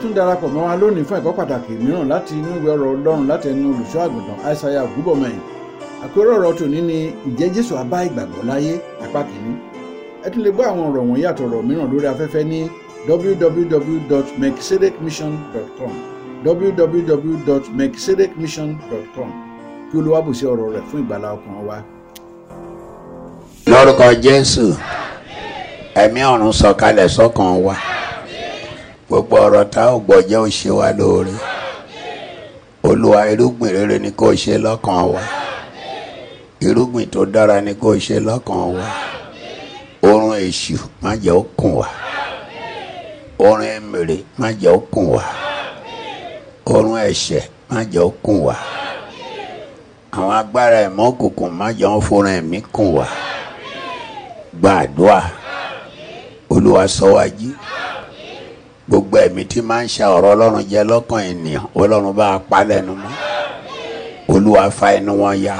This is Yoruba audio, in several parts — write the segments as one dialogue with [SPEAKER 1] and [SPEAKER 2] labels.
[SPEAKER 1] tún darapọ̀ mọ́ wa lónìí fún ẹ̀kọ́ pàtàkì mìíràn láti inú ìwé ọ̀rọ̀ ọlọ́run láti ẹnu olùṣọ́ àgùntàn àìsàyà ògúbọ̀mọyìn àpérò ọ̀rọ̀ tòní ni ǹjẹ́ jésù á bá ìgbàgbọ́ láyé apá kìíní ẹ tún lè gbọ́ àwọn ọ̀rọ̀ wọ̀nyí àtọ̀rọ̀ mìíràn lórí afẹ́fẹ́ ní www.mekisedekmission.com www.mekisedekmission.com kí olúwa bùsí ọ̀rọ̀ rẹ̀ fún ìgbàlá ọkàn wa.
[SPEAKER 2] lórúkọ jésù ẹ̀mí ọ̀run sọ̀kalẹ̀ sọ́kàn wa gbogbo ọ̀rọ̀ tá ò gbọ́ jẹ́ ó ṣe wá lóore olúwa irúgbìn rere ni kó ṣe lọ́kàn wa irúgbìn tó dára ni kó ṣe lọ́kàn wa orun èṣù má jẹ́ ó kùn wá orun èmèrè má jẹ́ ó kùn wá orun ẹ̀ṣẹ̀ má jẹ́ ó kùn wá àwọn agbára ẹ̀mọ́ òkùnkùn má jẹ́ ó fúnra ẹ̀mí kùn wá gbàdúrà olúwa sọ wá jí gbogbo ẹ̀mí tí máa ń ṣa ọ̀rọ̀ ọlọ́run jẹ lọ́kàn ènìyàn ọlọ́run bá a pa lẹ́nu mọ́ olúwa fa ẹnu wọn ya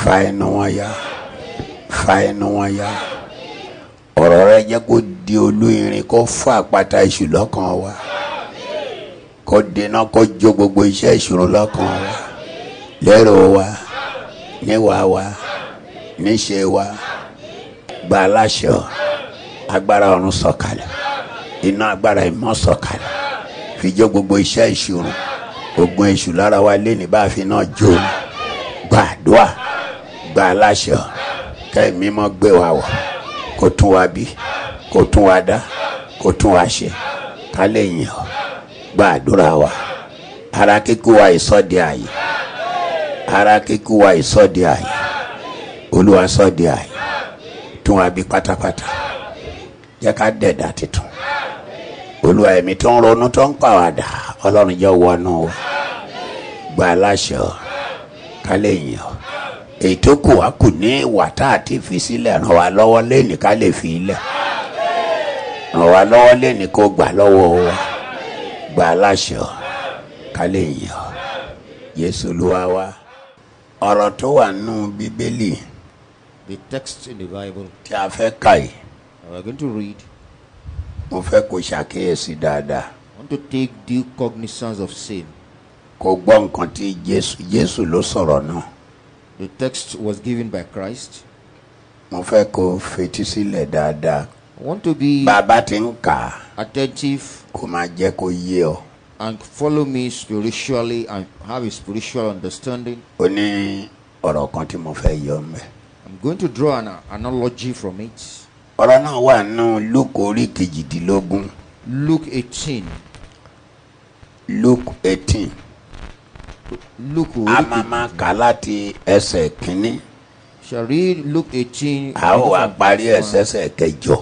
[SPEAKER 2] fa ẹnu wọn ya fa ẹnu wọn ya ọ̀rọ̀ rẹ jẹ́ kó di olú irin kó fọ́ àpáta èṣù lọ́kàn wa kó dènà kó jó gbogbo iṣẹ́ ìṣòro lọ́kàn wa lérò wa níwà wa níṣe wa gba aláṣọ agbára ọ̀run sọ̀kalẹ̀ iná agbára ìmọ̀ sọ̀kalẹ̀ fi jó gbogbo iṣẹ́ ìṣòro ogun èṣù lára wa lé ní bá a fi náà jó gbàdúà gba aláṣọ kẹ́mi mọ́ gbé wa wọ̀ kó tún wa bí kó tún wa dá kó tún wa ṣe ká lè yìn ọ́ gbàdúrà wa ara kíkú wa ìsọdẹ ààyè ara kíkú wa ìsọdẹ ààyè olúwa sọdẹ ààyè tún wa bí pátápátá jẹ́ ká dẹ̀dá titun olúwa ẹ̀mí tó ń ronú tó ń pàwàdà ọlọ́run jẹ́ wọnú wa gba aláṣẹ ọ ká lè yìn ọ èyí tó kù wá kù ní ìwà tá a ti fi sílẹ̀ ràn wá lọ́wọ́ lẹ́nì ká lè fi ilẹ̀ ràn wá lọ́wọ́ lẹ́nì kó gbà lọ́wọ́ wa gba aláṣẹ ọ ká lè yìn ọ yéṣu olúwa wa ọ̀rọ̀ tó wà nù bíbélì
[SPEAKER 3] The text in the Bible
[SPEAKER 2] tí a fẹ́ kà yìí
[SPEAKER 3] we are going to read.
[SPEAKER 2] mo fẹ́ kó ṣàkíyèsí dáadáa
[SPEAKER 3] I want to take due cognizance of sin.
[SPEAKER 2] kó gbọ́ nǹkan tí jésù jésù ló sọ̀rọ̀ náà
[SPEAKER 3] The text was given by Christ.
[SPEAKER 2] mo fẹ́ kó fetí sílẹ̀ dáadáa
[SPEAKER 3] I want to be
[SPEAKER 2] bàbá ti ń kà á
[SPEAKER 3] attentive
[SPEAKER 2] kó máa jẹ́ kó yé ọ
[SPEAKER 3] and follow me spiritually and have a spiritual understanding.
[SPEAKER 2] ó ní ọ̀rọ̀ kan tí mo fẹ́ yọ mẹ́
[SPEAKER 3] I'm going to draw an analogy from it.
[SPEAKER 2] ọ̀rọ̀ náà wà nù lúkù orí kejìdínlógún
[SPEAKER 3] Luke 18.
[SPEAKER 2] luke eighteen
[SPEAKER 3] Luke
[SPEAKER 2] a máa máa kà á láti ẹsẹ̀ kínní
[SPEAKER 3] shall read Luke 18.
[SPEAKER 2] a ó wá parí ẹsẹ̀sẹ̀ kẹjọ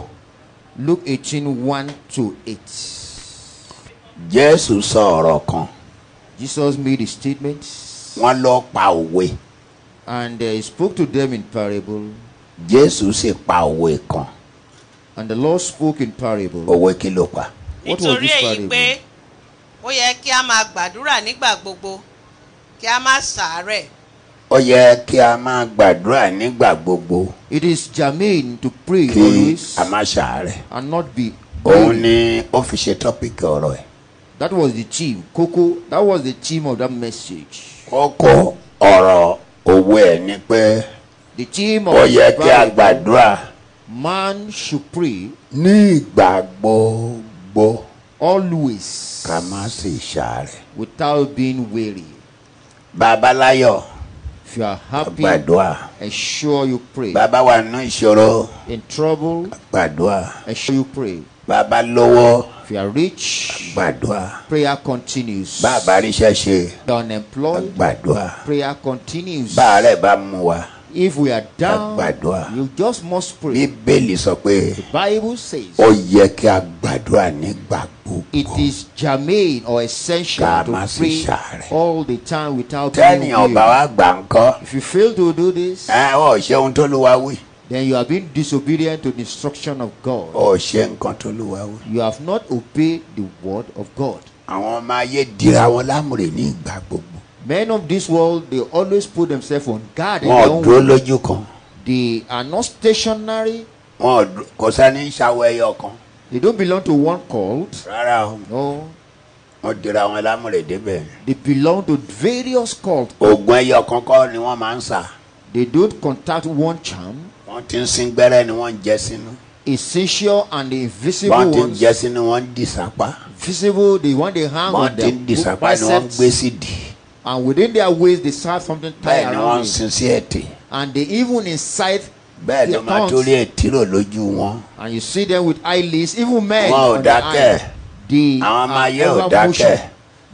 [SPEAKER 3] Luke 18 1 to 8.
[SPEAKER 2] jésù sọ ọ̀rọ̀ kan
[SPEAKER 3] Jesus made a statement
[SPEAKER 2] wọ́n lọ pa òwe
[SPEAKER 3] and uh, he spoke to them in parable.
[SPEAKER 2] jésù sì pa òwe kan
[SPEAKER 3] And the Lord spoke in parable.
[SPEAKER 2] òwe kí ló pa.
[SPEAKER 3] What was
[SPEAKER 4] nítorí
[SPEAKER 3] this
[SPEAKER 4] èyí
[SPEAKER 3] parable?
[SPEAKER 4] pé ó yẹ kí a máa gbàdúrà nígbà gbogbo kí a má ṣàárẹ̀
[SPEAKER 2] ó yẹ kí a máa gbàdúrà nígbà gbogbo
[SPEAKER 3] It is germane to pray
[SPEAKER 2] kí
[SPEAKER 3] always
[SPEAKER 2] a Oh. má ṣàárẹ̀
[SPEAKER 3] and not be.
[SPEAKER 2] òun ni ó fi ṣe tọ́pìkì ọ̀rọ̀ ẹ̀
[SPEAKER 3] That was the theme. Coco, that was the theme of that message.
[SPEAKER 2] kókó ọ̀rọ̀ òwe ẹ̀ ni pé
[SPEAKER 3] The theme
[SPEAKER 2] ó
[SPEAKER 3] of
[SPEAKER 2] yẹ
[SPEAKER 3] the
[SPEAKER 2] Oh, kí a
[SPEAKER 3] Bible,
[SPEAKER 2] gbàdúrà
[SPEAKER 3] man should pray
[SPEAKER 2] ní ìgbà gbogbo
[SPEAKER 3] always
[SPEAKER 2] ká má sì ṣàárẹ̀.
[SPEAKER 3] without being weary.
[SPEAKER 2] babaláyọ̀
[SPEAKER 3] If you are happy,
[SPEAKER 2] gbàdúrà
[SPEAKER 3] ensure you pray.
[SPEAKER 2] bàbá wà nínú ìṣòro
[SPEAKER 3] In trouble,
[SPEAKER 2] gbàdúrà
[SPEAKER 3] ensure you pray.
[SPEAKER 2] bàbá lówó
[SPEAKER 3] If you are rich,
[SPEAKER 2] gbàdúrà
[SPEAKER 3] prayer continues.
[SPEAKER 2] bàbá ríṣẹ́ ṣe
[SPEAKER 3] If you are unemployed,
[SPEAKER 2] gbàdúrà
[SPEAKER 3] prayer continues.
[SPEAKER 2] bàá rẹ̀ bá mú wa
[SPEAKER 3] If we are down,
[SPEAKER 2] gbàdúrà.
[SPEAKER 3] you just must pray.
[SPEAKER 2] bíbélì sọ pé.
[SPEAKER 3] Bible says.
[SPEAKER 2] ó yẹ kí a gbàdúrà nígbà
[SPEAKER 3] It
[SPEAKER 2] gbogbo.
[SPEAKER 3] is germane or essential
[SPEAKER 2] Ká má
[SPEAKER 3] to
[SPEAKER 2] sì
[SPEAKER 3] pray
[SPEAKER 2] ṣàárẹ̀.
[SPEAKER 3] all the time without
[SPEAKER 2] tẹ́ni
[SPEAKER 3] being
[SPEAKER 2] ọba
[SPEAKER 3] weary.
[SPEAKER 2] wa gbà ń kọ́
[SPEAKER 3] If you fail to do this,
[SPEAKER 2] ẹ ò ṣe ohun tó ló wá wí
[SPEAKER 3] then you have been disobedient to the instruction of God.
[SPEAKER 2] ò ṣe nǹkan tó ló wá wí.
[SPEAKER 3] You have not obeyed the word of God.
[SPEAKER 2] àwọn ọmọ ayé dira wọn lámùrè ní ìgbà gbogbo.
[SPEAKER 3] Men of this world, they always put themselves on guard. in
[SPEAKER 2] wọn ò
[SPEAKER 3] their own
[SPEAKER 2] dúró
[SPEAKER 3] way.
[SPEAKER 2] lójú kan
[SPEAKER 3] They are not stationary.
[SPEAKER 2] wọn ò dúró- kò sẹ́ni ń ṣàwọ̀ ẹyọ kan
[SPEAKER 3] They don't belong to one cult.
[SPEAKER 2] rárá o
[SPEAKER 3] No.
[SPEAKER 2] wọ́n dira wọn lámúre débẹ̀.
[SPEAKER 3] They belong to various cult.
[SPEAKER 2] oògùn ẹyọ kọ́kọ́ ni wọ́n máa ń sà
[SPEAKER 3] They don't contact one charm.
[SPEAKER 2] wọ́n ti ń sin gbẹ́rẹ́ ni wọ́n ń jẹ sínú
[SPEAKER 3] Essential and the
[SPEAKER 2] wọ́n
[SPEAKER 3] invisible
[SPEAKER 2] ti ń
[SPEAKER 3] ones.
[SPEAKER 2] jẹ sínú wọ́n ń dìsápá
[SPEAKER 3] Visible, the one they hang
[SPEAKER 2] wọ́n ti
[SPEAKER 3] on their
[SPEAKER 2] ń dìsápá ni wọ́n ń
[SPEAKER 3] biceps.
[SPEAKER 2] gbé sí dì
[SPEAKER 3] And within their waist, they start something
[SPEAKER 2] bẹ́ẹ̀
[SPEAKER 3] tied
[SPEAKER 2] ni wọ́n ń
[SPEAKER 3] around it.
[SPEAKER 2] sin sí ètè
[SPEAKER 3] And they even incite
[SPEAKER 2] bẹ́ẹ̀ ni
[SPEAKER 3] their
[SPEAKER 2] wọ́n
[SPEAKER 3] tongues.
[SPEAKER 2] torí ètí rò lójú wọn
[SPEAKER 3] And you see them with eyelids, even men.
[SPEAKER 2] Wọn ò
[SPEAKER 3] on their
[SPEAKER 2] dákẹ́.
[SPEAKER 3] eyes. They
[SPEAKER 2] Àwọn ọmọ
[SPEAKER 3] are
[SPEAKER 2] ayé ò
[SPEAKER 3] ever
[SPEAKER 2] dákẹ́.
[SPEAKER 3] motion.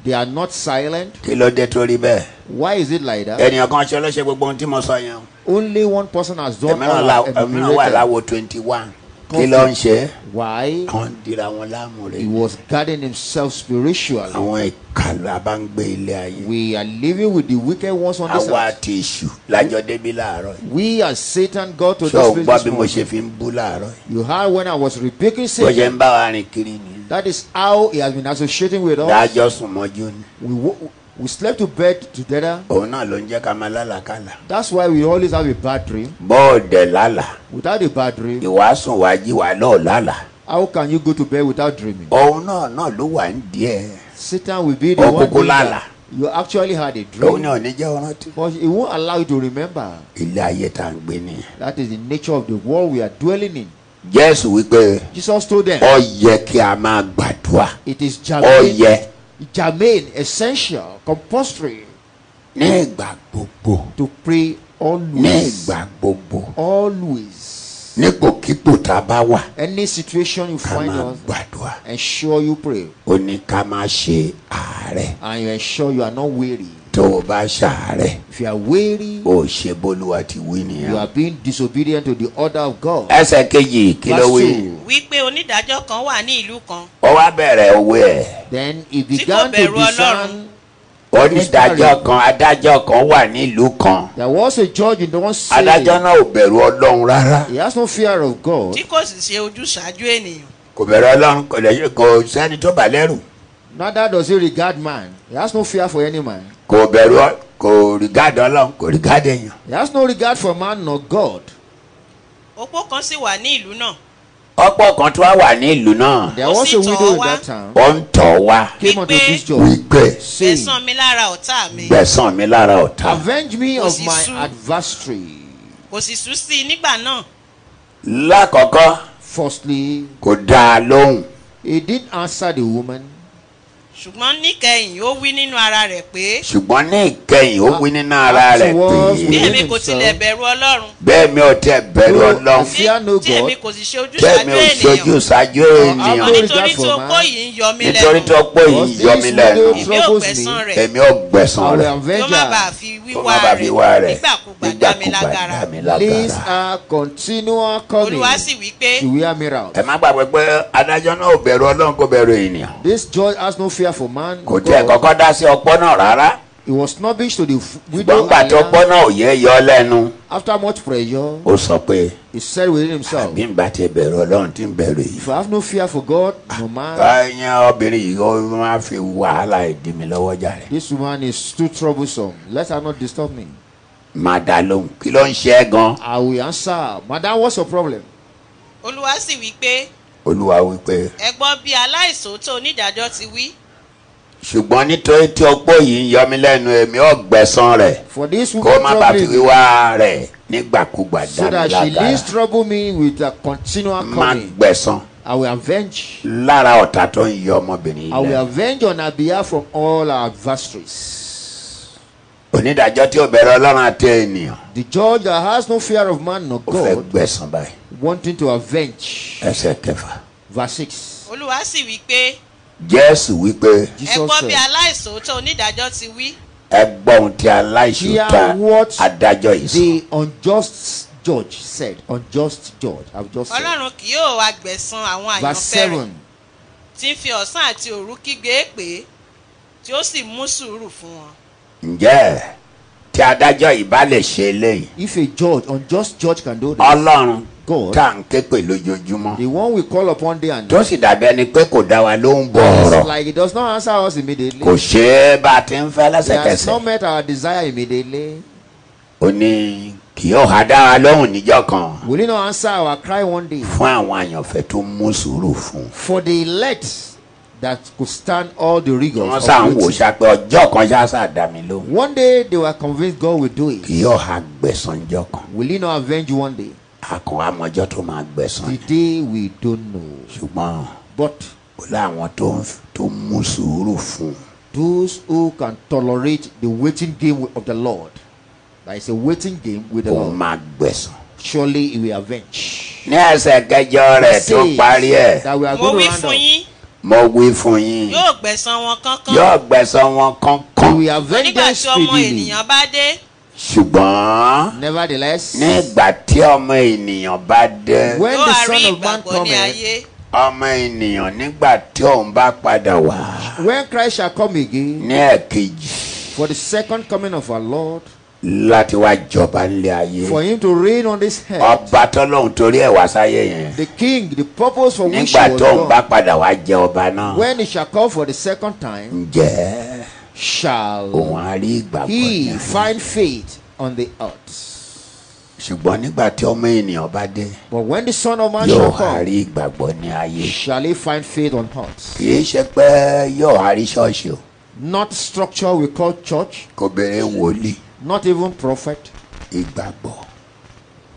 [SPEAKER 3] They are not silent.
[SPEAKER 2] kí ló dé torí bẹ́ẹ̀
[SPEAKER 3] Why is it like that?
[SPEAKER 2] ènìyàn kan ṣe ọlọ́ṣẹ́ gbogbo ohun tí mo sọ yẹn o.
[SPEAKER 3] Only one person has done
[SPEAKER 2] ẹ̀míràn
[SPEAKER 3] all
[SPEAKER 2] la-
[SPEAKER 3] I've
[SPEAKER 2] ẹ̀míràn wà
[SPEAKER 3] enumerated.
[SPEAKER 2] láwo twenty one kí ló ń ṣe é
[SPEAKER 3] Why?
[SPEAKER 2] wọ́n ń dira wọn lámúre
[SPEAKER 3] He was guarding himself spiritually.
[SPEAKER 2] àwọn ìkàlù abáǹgbé ilé ayé
[SPEAKER 3] We are living with the wicked ones on this
[SPEAKER 2] àwa
[SPEAKER 3] earth.
[SPEAKER 2] àti èṣù lájọ débi láàárọ̀ yìí.
[SPEAKER 3] We as Satan got to
[SPEAKER 2] ṣé o gbọ́
[SPEAKER 3] this place
[SPEAKER 2] bí
[SPEAKER 3] this
[SPEAKER 2] mo
[SPEAKER 3] morning.
[SPEAKER 2] ṣe fi ń bú láàárọ̀ yìí
[SPEAKER 3] You heard when I was rebuking
[SPEAKER 2] bó ṣe
[SPEAKER 3] Satan.
[SPEAKER 2] ń bá wa rìn kiri nìyí
[SPEAKER 3] That is how he has been associating with us.
[SPEAKER 2] dájọ́ sùn mọ́jú ni
[SPEAKER 3] We, wo- we slept to bed together.
[SPEAKER 2] òun náà ló ń jẹ́ ká máa lálàkàlà
[SPEAKER 3] That's why we always have a bad dream.
[SPEAKER 2] bọ́ọ̀dẹ̀ lálà
[SPEAKER 3] Without a bad dream,
[SPEAKER 2] ìwàásùn wájí wà lọ́ọ̀ lálà
[SPEAKER 3] how can you go to bed without dreaming?
[SPEAKER 2] òun náà náà ló wà ń díẹ̀
[SPEAKER 3] Satan will be the one.
[SPEAKER 2] Okuku
[SPEAKER 3] doing that.
[SPEAKER 2] lala.
[SPEAKER 3] You actually had a
[SPEAKER 2] òun
[SPEAKER 3] dream,
[SPEAKER 2] náà ní jẹ́ ọ̀rán tí.
[SPEAKER 3] but it won't allow you to remember.
[SPEAKER 2] ilé ayé tá à ń gbé nìyẹn.
[SPEAKER 3] That is the nature of the world we are dwelling in.
[SPEAKER 2] jésù wípé
[SPEAKER 3] Jesus told them.
[SPEAKER 2] ó yẹ kí a máa gbàdúrà
[SPEAKER 3] It is
[SPEAKER 2] ó
[SPEAKER 3] germane.
[SPEAKER 2] yẹ
[SPEAKER 3] Germane, essential, compulsory
[SPEAKER 2] ní ìgbà gbogbo
[SPEAKER 3] to
[SPEAKER 2] ní
[SPEAKER 3] pray always.
[SPEAKER 2] ìgbà gbogbo
[SPEAKER 3] Always.
[SPEAKER 2] nípòkípò tá a bá wà
[SPEAKER 3] Any situation you
[SPEAKER 2] ká
[SPEAKER 3] find
[SPEAKER 2] máa
[SPEAKER 3] us,
[SPEAKER 2] gbàdúrà
[SPEAKER 3] ensure you pray
[SPEAKER 2] ó ní ká máa ṣe àárẹ̀
[SPEAKER 3] and you ensure you are not weary.
[SPEAKER 2] tó o bá ṣàárẹ̀
[SPEAKER 3] If you are weary,
[SPEAKER 2] ó ṣe bólúwa ti wí
[SPEAKER 3] you are
[SPEAKER 2] nìyẹn.
[SPEAKER 3] being disobedient to the order of God.
[SPEAKER 2] ẹsẹ̀ kejì kí ló
[SPEAKER 3] Verse
[SPEAKER 2] wí
[SPEAKER 3] two.
[SPEAKER 4] wípé onídàájọ́ kan wà ní ìlú kan
[SPEAKER 2] ó wá bẹ̀rẹ̀ owó ẹ̀
[SPEAKER 3] Then he began to
[SPEAKER 4] bẹ̀rù Ọlọ́run.
[SPEAKER 3] discern.
[SPEAKER 2] onídàájọ́ kan adájọ́ kan wà nílùú kan
[SPEAKER 3] There was a judge in the one city.
[SPEAKER 2] adájọ́ náà ò bẹ̀rù ọlọ́run rárá
[SPEAKER 3] He has no fear of God.
[SPEAKER 4] tí kò sì ṣe ojúṣàájú ènìyàn
[SPEAKER 2] kò bẹ̀rù ọlọ́run kò lè- kò sẹ́ni tó bà lẹ́rù
[SPEAKER 3] Neither does he regard man. He has no fear for any man.
[SPEAKER 2] kò bẹ̀rù ọ- kò rìgáàdì ọlọ́run kò rìgáàdì èèyàn
[SPEAKER 3] He has no regard for man nor God.
[SPEAKER 4] opó kan sì wà ní ìlú náà
[SPEAKER 2] ọ̀pọ̀ kan tó wà nílùú náà
[SPEAKER 3] There
[SPEAKER 4] Ó
[SPEAKER 3] was
[SPEAKER 4] sì
[SPEAKER 3] a
[SPEAKER 4] tọ̀
[SPEAKER 3] widow in
[SPEAKER 4] wá.
[SPEAKER 3] that town.
[SPEAKER 2] ó ń tọ̀ wá
[SPEAKER 3] Came unto
[SPEAKER 4] Wípé-
[SPEAKER 3] this judge,
[SPEAKER 2] wípé
[SPEAKER 3] saying,
[SPEAKER 4] ẹ̀san mi lára ọ̀tá mi
[SPEAKER 2] gbẹ̀sán mi lára ọ̀tá
[SPEAKER 3] Avenge me
[SPEAKER 4] Kò
[SPEAKER 3] of
[SPEAKER 4] sì sú.
[SPEAKER 3] my adversary.
[SPEAKER 4] kò sì sú sí i nígbà náà
[SPEAKER 2] lákọ̀ọ́kọ́
[SPEAKER 3] Firstly,
[SPEAKER 2] kò dáa lóhùn
[SPEAKER 3] he didn't answer the woman.
[SPEAKER 4] ṣùgbọ́n níkẹyìn ó wí nínú ara rẹ̀ pé
[SPEAKER 2] ṣùgbọ́n ní ìkẹyìn ó wí nínú ara rẹ̀
[SPEAKER 4] bí
[SPEAKER 2] pé
[SPEAKER 3] Afterwards,
[SPEAKER 4] èmi kò
[SPEAKER 3] himself.
[SPEAKER 4] tilẹ̀ bẹ̀rù ọlọ́run
[SPEAKER 2] bẹ́ẹ̀ mi ò tẹ́ bẹ̀rù
[SPEAKER 3] Though
[SPEAKER 2] ọlọ́run
[SPEAKER 3] I fear no
[SPEAKER 4] tí èmi
[SPEAKER 3] God,
[SPEAKER 4] kò sì ṣe
[SPEAKER 2] bẹ́ẹ̀ mi
[SPEAKER 4] ojúṣàájú
[SPEAKER 2] ò sojú
[SPEAKER 4] ènìyàn
[SPEAKER 2] ṣáájú ènìyàn
[SPEAKER 3] Lord, that
[SPEAKER 4] ṣùgbọ́n nítorí tí
[SPEAKER 3] for
[SPEAKER 4] opó
[SPEAKER 3] man.
[SPEAKER 4] yìí ń yọ mí
[SPEAKER 2] nítorí
[SPEAKER 4] lẹ́nu
[SPEAKER 2] tó pé
[SPEAKER 3] Because
[SPEAKER 2] ìyọ́ mi
[SPEAKER 3] this
[SPEAKER 2] lẹ́nu
[SPEAKER 3] widow
[SPEAKER 4] èmi ò
[SPEAKER 3] troubles
[SPEAKER 4] gbẹ̀san
[SPEAKER 3] me.
[SPEAKER 4] rẹ̀
[SPEAKER 2] èmi ò gbẹ̀sán
[SPEAKER 3] I will
[SPEAKER 2] rẹ̀
[SPEAKER 4] kí
[SPEAKER 3] avenge
[SPEAKER 4] ó má bàa
[SPEAKER 3] her.
[SPEAKER 4] fi
[SPEAKER 2] kó má
[SPEAKER 4] wíwá
[SPEAKER 2] bàa fi wá
[SPEAKER 4] rẹ̀
[SPEAKER 2] rẹ̀
[SPEAKER 4] nígbàkúgbà dá mi
[SPEAKER 2] nígbàkúgbà
[SPEAKER 4] lágara
[SPEAKER 2] dá mi
[SPEAKER 3] Please,
[SPEAKER 2] lágara.
[SPEAKER 3] her continual coming
[SPEAKER 4] olúwa sì wí pé
[SPEAKER 3] to wear me out.
[SPEAKER 2] ẹ má gbàgbé pé adájọ́ náà ò bẹ̀rù ọlọ́run kò bẹ̀rù ènìyàn
[SPEAKER 3] This judge has no fear for man.
[SPEAKER 2] kò
[SPEAKER 3] nor
[SPEAKER 2] tiẹ̀
[SPEAKER 3] God.
[SPEAKER 2] kọ́kọ́ dá sí ọpọ́ náà rárá
[SPEAKER 3] He was snobbish to the f- widow.
[SPEAKER 2] gbọ́ngbà tó
[SPEAKER 3] and
[SPEAKER 2] pọ́ náà ò yẹ yọ lẹ́nu
[SPEAKER 3] After much pressure,
[SPEAKER 2] ó sọ pé
[SPEAKER 3] he said within himself,
[SPEAKER 2] bí n bá ti bẹ̀rù ọlọ́run tí n bẹ̀rù yìí
[SPEAKER 3] If I have no fear for God,
[SPEAKER 2] Ah,
[SPEAKER 3] no man,
[SPEAKER 2] báyẹn obìnrin yìí ó máa fi wàhálà ìdí mi lọ́wọ́ jàre
[SPEAKER 3] this woman is too troublesome. Let her not disturb me.
[SPEAKER 2] má dá lóhùn kí ló ń ṣe é gan
[SPEAKER 3] I will answer. her. Madam, what's your problem?
[SPEAKER 4] olúwa sì wí pé
[SPEAKER 2] olúwa wípé
[SPEAKER 4] ẹ gbọ́ bí aláìsòótọ́ onídàájọ́ ti wí
[SPEAKER 2] ṣùgbọ́n nítorí tí ọpọ́ yìí ń yọ mí lẹ́nu èmi ò gbẹ̀san rẹ̀
[SPEAKER 3] For this
[SPEAKER 2] kó
[SPEAKER 3] woman
[SPEAKER 2] má bàa fi
[SPEAKER 3] trouble me,
[SPEAKER 2] wíwá rẹ̀ nígbàkúgbà dá
[SPEAKER 3] so
[SPEAKER 2] mi
[SPEAKER 3] that she
[SPEAKER 2] lágara
[SPEAKER 3] leaves trouble me with a continual
[SPEAKER 2] má
[SPEAKER 3] coming.
[SPEAKER 2] gbẹ̀san
[SPEAKER 3] I will avenge.
[SPEAKER 2] lára ọ̀tá tó ń yọ ọmọbìnrin
[SPEAKER 3] I
[SPEAKER 2] yìí
[SPEAKER 3] will
[SPEAKER 2] lẹ́nu.
[SPEAKER 3] avenge on her behalf from all her adversaries.
[SPEAKER 2] onídàájọ́ tí ò bẹ̀rù ọlọ́run àti ènìyàn
[SPEAKER 3] The judge that has no fear of man nor
[SPEAKER 2] ó fẹ́
[SPEAKER 3] God,
[SPEAKER 2] gbẹ̀san báyìí
[SPEAKER 3] wanting to avenge.
[SPEAKER 2] ẹsẹ̀ kẹfà
[SPEAKER 3] Verse 6.
[SPEAKER 4] olúwa sì wí pé
[SPEAKER 2] jésù wípé
[SPEAKER 4] ẹ
[SPEAKER 3] Jesus
[SPEAKER 4] gbọ́ bí
[SPEAKER 3] said,
[SPEAKER 4] aláìsòótọ́ onídàájọ́ ti wí
[SPEAKER 2] ẹ gbọ́ ohun tí aláìṣòótá
[SPEAKER 3] Hear what
[SPEAKER 2] adájọ́ yìí sọ
[SPEAKER 3] The unjust judge said, Unjust judge. I've just said.
[SPEAKER 4] ọlọ́run kì yóò wá gbẹ̀san àwọn
[SPEAKER 3] Verse
[SPEAKER 4] àyànfẹ́ rẹ̀
[SPEAKER 3] 7.
[SPEAKER 4] tí ń fi ọ̀sán àti òru kígbe pé tí ó sì mú sùúrù fún wọn
[SPEAKER 2] ǹjẹ́ tí adájọ́ yìí bá lè ṣe eléyìí
[SPEAKER 3] If a judge, unjust judge can do this,
[SPEAKER 2] ọlọ́run
[SPEAKER 3] God.
[SPEAKER 2] tá à ń ké pè lójoojúmọ́
[SPEAKER 3] the one we call upon day and
[SPEAKER 2] tó
[SPEAKER 3] night,
[SPEAKER 2] sì dàbí ẹni pé kò dá wa lóhùn bọ̀ ọ̀rọ̀
[SPEAKER 3] it's like it does not answer us immediately.
[SPEAKER 2] kò ṣe é bá a ti ń fẹ́
[SPEAKER 3] He has
[SPEAKER 2] lẹ́sẹ̀kẹsẹ̀
[SPEAKER 3] not met our desire immediately.
[SPEAKER 2] ó ní kì yóò ha dá wa lóhùn níjọ́ kan
[SPEAKER 3] Will he not answer our cry one day?
[SPEAKER 2] fún àwọn àyànfẹ́ tó mú sùúrù fún un.
[SPEAKER 3] For the elect, that could stand all the rigors.
[SPEAKER 2] wọ́n
[SPEAKER 3] of
[SPEAKER 2] sá ń wò
[SPEAKER 3] waiting.
[SPEAKER 2] sá pé ọjọ́ kan ṣá sá dà mí lóhùn
[SPEAKER 3] One day they were convinced God will do
[SPEAKER 2] kì
[SPEAKER 3] it.
[SPEAKER 2] yóò ha gbẹ̀sánjọ́ kan
[SPEAKER 3] Will He not avenge you one day?
[SPEAKER 2] akọ̀ amọ̀jọ́ tó máa gbẹ̀sán
[SPEAKER 3] The day we don't know.
[SPEAKER 2] ṣùgbọ́n
[SPEAKER 3] But
[SPEAKER 2] ó láwọn tó ń tó ń mú sùúrù fún un
[SPEAKER 3] those who can tolerate the waiting game of the Lord, that is a waiting game with the
[SPEAKER 2] òun
[SPEAKER 3] Lord,
[SPEAKER 2] máa gbẹ̀sán.
[SPEAKER 3] surely He will avenge.
[SPEAKER 2] ní ẹsẹ̀ kẹjọ rẹ̀ tó
[SPEAKER 3] Says
[SPEAKER 2] parí ẹ̀
[SPEAKER 3] That we are
[SPEAKER 4] mo
[SPEAKER 3] going
[SPEAKER 4] wí
[SPEAKER 3] to round
[SPEAKER 4] fún
[SPEAKER 3] up.
[SPEAKER 4] yín
[SPEAKER 2] mo wí fún yín
[SPEAKER 4] yóò gbẹ̀san wọn kánkán
[SPEAKER 2] yóò gbẹ̀sán wọn
[SPEAKER 3] He
[SPEAKER 2] kánkán
[SPEAKER 3] will avenge
[SPEAKER 4] nígbà
[SPEAKER 3] them
[SPEAKER 4] tí ọmọ
[SPEAKER 3] speedily.
[SPEAKER 4] ènìyàn bá dé
[SPEAKER 2] ṣùgbọ́n
[SPEAKER 3] Nevertheless,
[SPEAKER 2] ní ìgbà tí ọmọ ènìyàn bá dé
[SPEAKER 3] when
[SPEAKER 4] yóò
[SPEAKER 3] the
[SPEAKER 4] á rí
[SPEAKER 3] Son of Man
[SPEAKER 4] ìgbàgbọ́ ní
[SPEAKER 3] cometh,
[SPEAKER 4] ayé
[SPEAKER 2] ọmọ ènìyàn nígbà tí òun bá padà wá
[SPEAKER 3] when Christ shall come again
[SPEAKER 2] ní ẹ̀kejì
[SPEAKER 3] for the second coming of our Lord,
[SPEAKER 2] láti wá jọba nílé ayé
[SPEAKER 3] for Him to reign on this earth,
[SPEAKER 2] ọba tọ́lọ́hún torí ẹ̀ wá sáyé yẹn
[SPEAKER 3] the King, the purpose for which He
[SPEAKER 2] nígbà
[SPEAKER 3] was
[SPEAKER 2] tó ń bá
[SPEAKER 3] born,
[SPEAKER 2] padà wá jẹ ọba náà
[SPEAKER 3] when He shall come for the second time,
[SPEAKER 2] ǹjẹ́ òun
[SPEAKER 3] shall
[SPEAKER 2] á rí ìgbàgbọ́
[SPEAKER 3] He
[SPEAKER 2] yẹn?
[SPEAKER 3] find faith on the earth.
[SPEAKER 2] ṣùgbọ́n nígbà tí ọmọ ènìyàn bá dé
[SPEAKER 3] But when the Son of Man
[SPEAKER 2] yóò
[SPEAKER 3] shall
[SPEAKER 2] á
[SPEAKER 3] come,
[SPEAKER 2] rí ìgbàgbọ́ ní ayé
[SPEAKER 3] shall he find faith on earth?
[SPEAKER 2] kì í ṣe pé yóò á rí ṣọ́ọ̀ṣì o
[SPEAKER 3] Not structure we call church,
[SPEAKER 2] kò béèrè wòlíì
[SPEAKER 3] not even prophet.
[SPEAKER 2] ìgbàgbọ́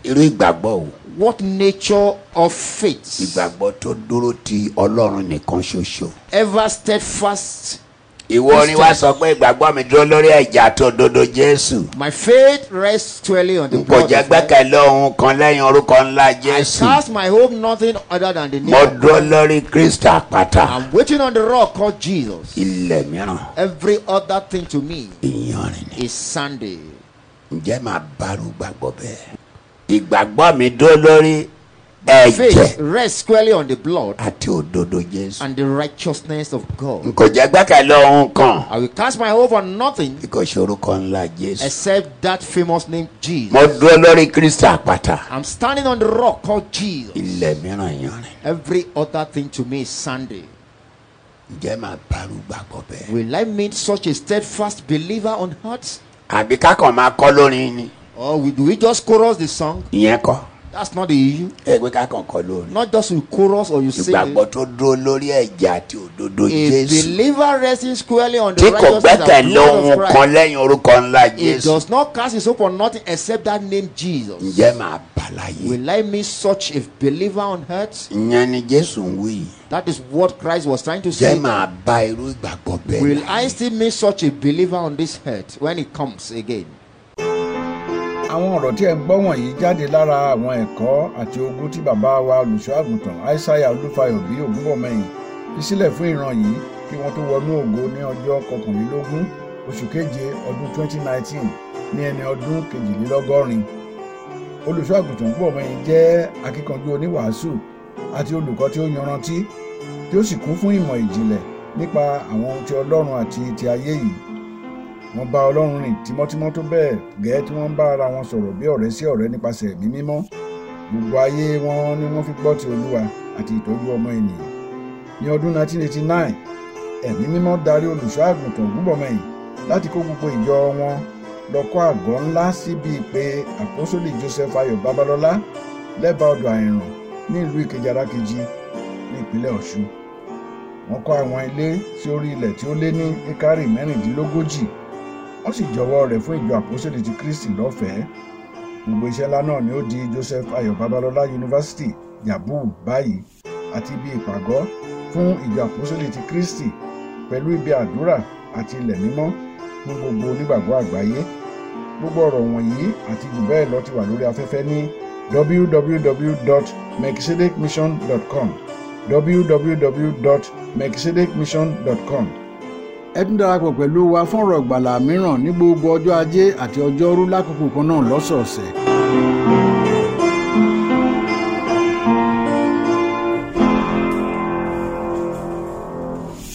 [SPEAKER 2] irú ìgbàgbọ́ o
[SPEAKER 3] What nature of faith?
[SPEAKER 2] ìgbàgbọ́ tó dúró ti ọlọ́run nìkan ṣoṣo.
[SPEAKER 3] Ever steadfast.
[SPEAKER 2] ìwọ ni wá sọ pé ìgbàgbọ́ mi dúró lórí ẹ̀jẹ̀ àti òdodo jésù
[SPEAKER 3] My faith rests solely on the
[SPEAKER 2] kò
[SPEAKER 3] blood.
[SPEAKER 2] jẹ́
[SPEAKER 3] of Christ.
[SPEAKER 2] gbẹ́kẹ̀lé ohun kan lẹ́yìn orúkọ ńlá jésù
[SPEAKER 3] Cast my hope nothing other than the name.
[SPEAKER 2] mo
[SPEAKER 3] of
[SPEAKER 2] dúró
[SPEAKER 3] God.
[SPEAKER 2] lórí kristi àpáta
[SPEAKER 3] I'm waiting on the rock called Jesus.
[SPEAKER 2] ilẹ̀ mìíràn
[SPEAKER 3] Every other thing to me
[SPEAKER 2] ìyanrìn ni
[SPEAKER 3] is Sunday.
[SPEAKER 2] ǹjẹ́ màá bárú gbàgbọ́ bẹ́ẹ̀ ìgbàgbọ́ mi dúró lórí ẹ̀jẹ̀
[SPEAKER 3] Faith rests squarely on the blood
[SPEAKER 2] àti òdodo jésù
[SPEAKER 3] and the righteousness of
[SPEAKER 2] n
[SPEAKER 3] God.
[SPEAKER 2] kò jẹ́ gbẹ́kẹ̀lé ohun kan
[SPEAKER 3] I will cast my hope on nothing
[SPEAKER 2] bí kò ṣe orúkọ ńlá jésù
[SPEAKER 3] except that famous name Jesus.
[SPEAKER 2] mo dúró lórí kristi àpáta
[SPEAKER 3] I'm standing on the rock called Jesus.
[SPEAKER 2] ilẹ̀ mìíràn ìyanrìn
[SPEAKER 3] Every other thing to me is Sunday.
[SPEAKER 2] ǹjẹ́ màá bárú gbàgbọ́ bẹ́ẹ̀
[SPEAKER 3] Will I meet such a steadfast believer on heart?
[SPEAKER 2] àbí kákan máa kọ́ lórin ni
[SPEAKER 3] Or we- do we just chorus the song?
[SPEAKER 2] ìyẹn kọ́
[SPEAKER 3] That's not the issue.
[SPEAKER 2] ẹ pé kákan kọ́ lórin
[SPEAKER 3] Not just you chorus or you sing.
[SPEAKER 2] ìgbàgbọ́
[SPEAKER 3] it.
[SPEAKER 2] tó dúró lórí ẹ̀jẹ̀ àti òdodo
[SPEAKER 3] A
[SPEAKER 2] jésù
[SPEAKER 3] believer resting squarely on
[SPEAKER 2] tí
[SPEAKER 3] the
[SPEAKER 2] kò
[SPEAKER 3] righteousness and
[SPEAKER 2] gbẹ́kẹ̀lé
[SPEAKER 3] blood
[SPEAKER 2] ohun
[SPEAKER 3] of
[SPEAKER 2] kan
[SPEAKER 3] Christ.
[SPEAKER 2] lẹ́yìn orúkọ ńlá
[SPEAKER 3] It
[SPEAKER 2] jésù
[SPEAKER 3] does not cast his hope on nothing except that name Jesus.
[SPEAKER 2] ǹjẹ́ màá bà láyé
[SPEAKER 3] Will I meet such a believer on earth?
[SPEAKER 2] ìyẹn ni jésù ń wí yìí
[SPEAKER 3] That is what Christ was trying to
[SPEAKER 2] ǹjẹ́
[SPEAKER 3] say.
[SPEAKER 2] màá bá irú ìgbàgbọ́ bẹ́ẹ̀
[SPEAKER 3] Will I still meet such a believer on this earth when it comes again?
[SPEAKER 1] àwọn ọ̀rọ̀ tí ẹ ń gbọ́ wọ̀nyí jáde lára àwọn ẹ̀kọ́ àti ogún tí bàbá wa olùṣọ́ àgùntàn aishaiya olúfayọ bí ògúnbọ̀mọyìn fi sílẹ̀ fún ìran yìí kí wọ́n tó wọnú ògo ní ọjọ́ kọkànlélógún oṣù keje ọdún 2019 ní ẹni ọdún kejìlélọ́gọ́rin olùṣọ́ àgùntàn ògúnbọ̀mọyìn jẹ́ akíkanjú oníwàásù àti olùkọ́ tí ó yanrantí tí ó sì kún fún ìmọ̀ ìjìnlẹ̀ nípa àwọn ohun ti ọlọ́run àti ti ayé yìí wọ́n bá ọlọ́run rìn tímọ́tímọ́ tó bẹ́ẹ̀ gẹ́ẹ́ tí wọ́n ń bá ara wọn sọ̀rọ̀ bí ọ̀rẹ́ sí ọ̀rẹ́ nípasẹ̀ ẹ̀mí mímọ́ gbogbo ayé wọn ni wọ́n fi gbọ́ ti olúwa àti ìtọ́jú ọmọ ènìyàn ní ọdún 1989 ẹ̀mí mímọ́ darí olùṣọ́ àgùntàn gúbọ̀mọyìn láti kó gbogbo ìjọ wọn lọ kọ́ àgọ́ ńlá síbi ìpè àpọ́sólì joseph ayọ̀ babalọ́lá lẹ́bàá ọdọ̀ àìràn ní ìlú ìkejì arákejì ní ìpínlẹ̀ ọ̀ṣun wọ́n kọ́ àwọn ilé sí orí ilẹ̀ tí ó lé ní ekari mẹ́rìndínlógójì wọ́n sì jọ̀wọ́ rẹ̀ fún ìjọ àpòsílẹ̀ ti kristi lọ́fẹ̀ẹ́ gbogbo iṣẹ́ ńlá náà ni ó di joseph ayọ̀ babalọ́lá yunifásitì yabu báyìí àti ibi ìpàgọ́ fún ìjọ àpòsílẹ̀ ti kristi pẹ̀lú ibi àdúrà àti ilẹ̀ mímọ́ fún gbogbo onígbàgbọ́ àgbáyé gbogbo ọ̀rọ̀ wọ̀nyí àti jù bẹ́ẹ̀ lọ ti wà lórí afẹ́fẹ́ ní www.mexicidicmission.com www.mexicidicmission.com ẹ tún darapọ̀ pẹ̀lú wa fún ọ̀rọ̀ ìgbàlà mìíràn ní gbogbo ọjọ́ ajé àti ọjọ́rú lákòókò kan náà lọ́sọ̀ọ̀sẹ̀.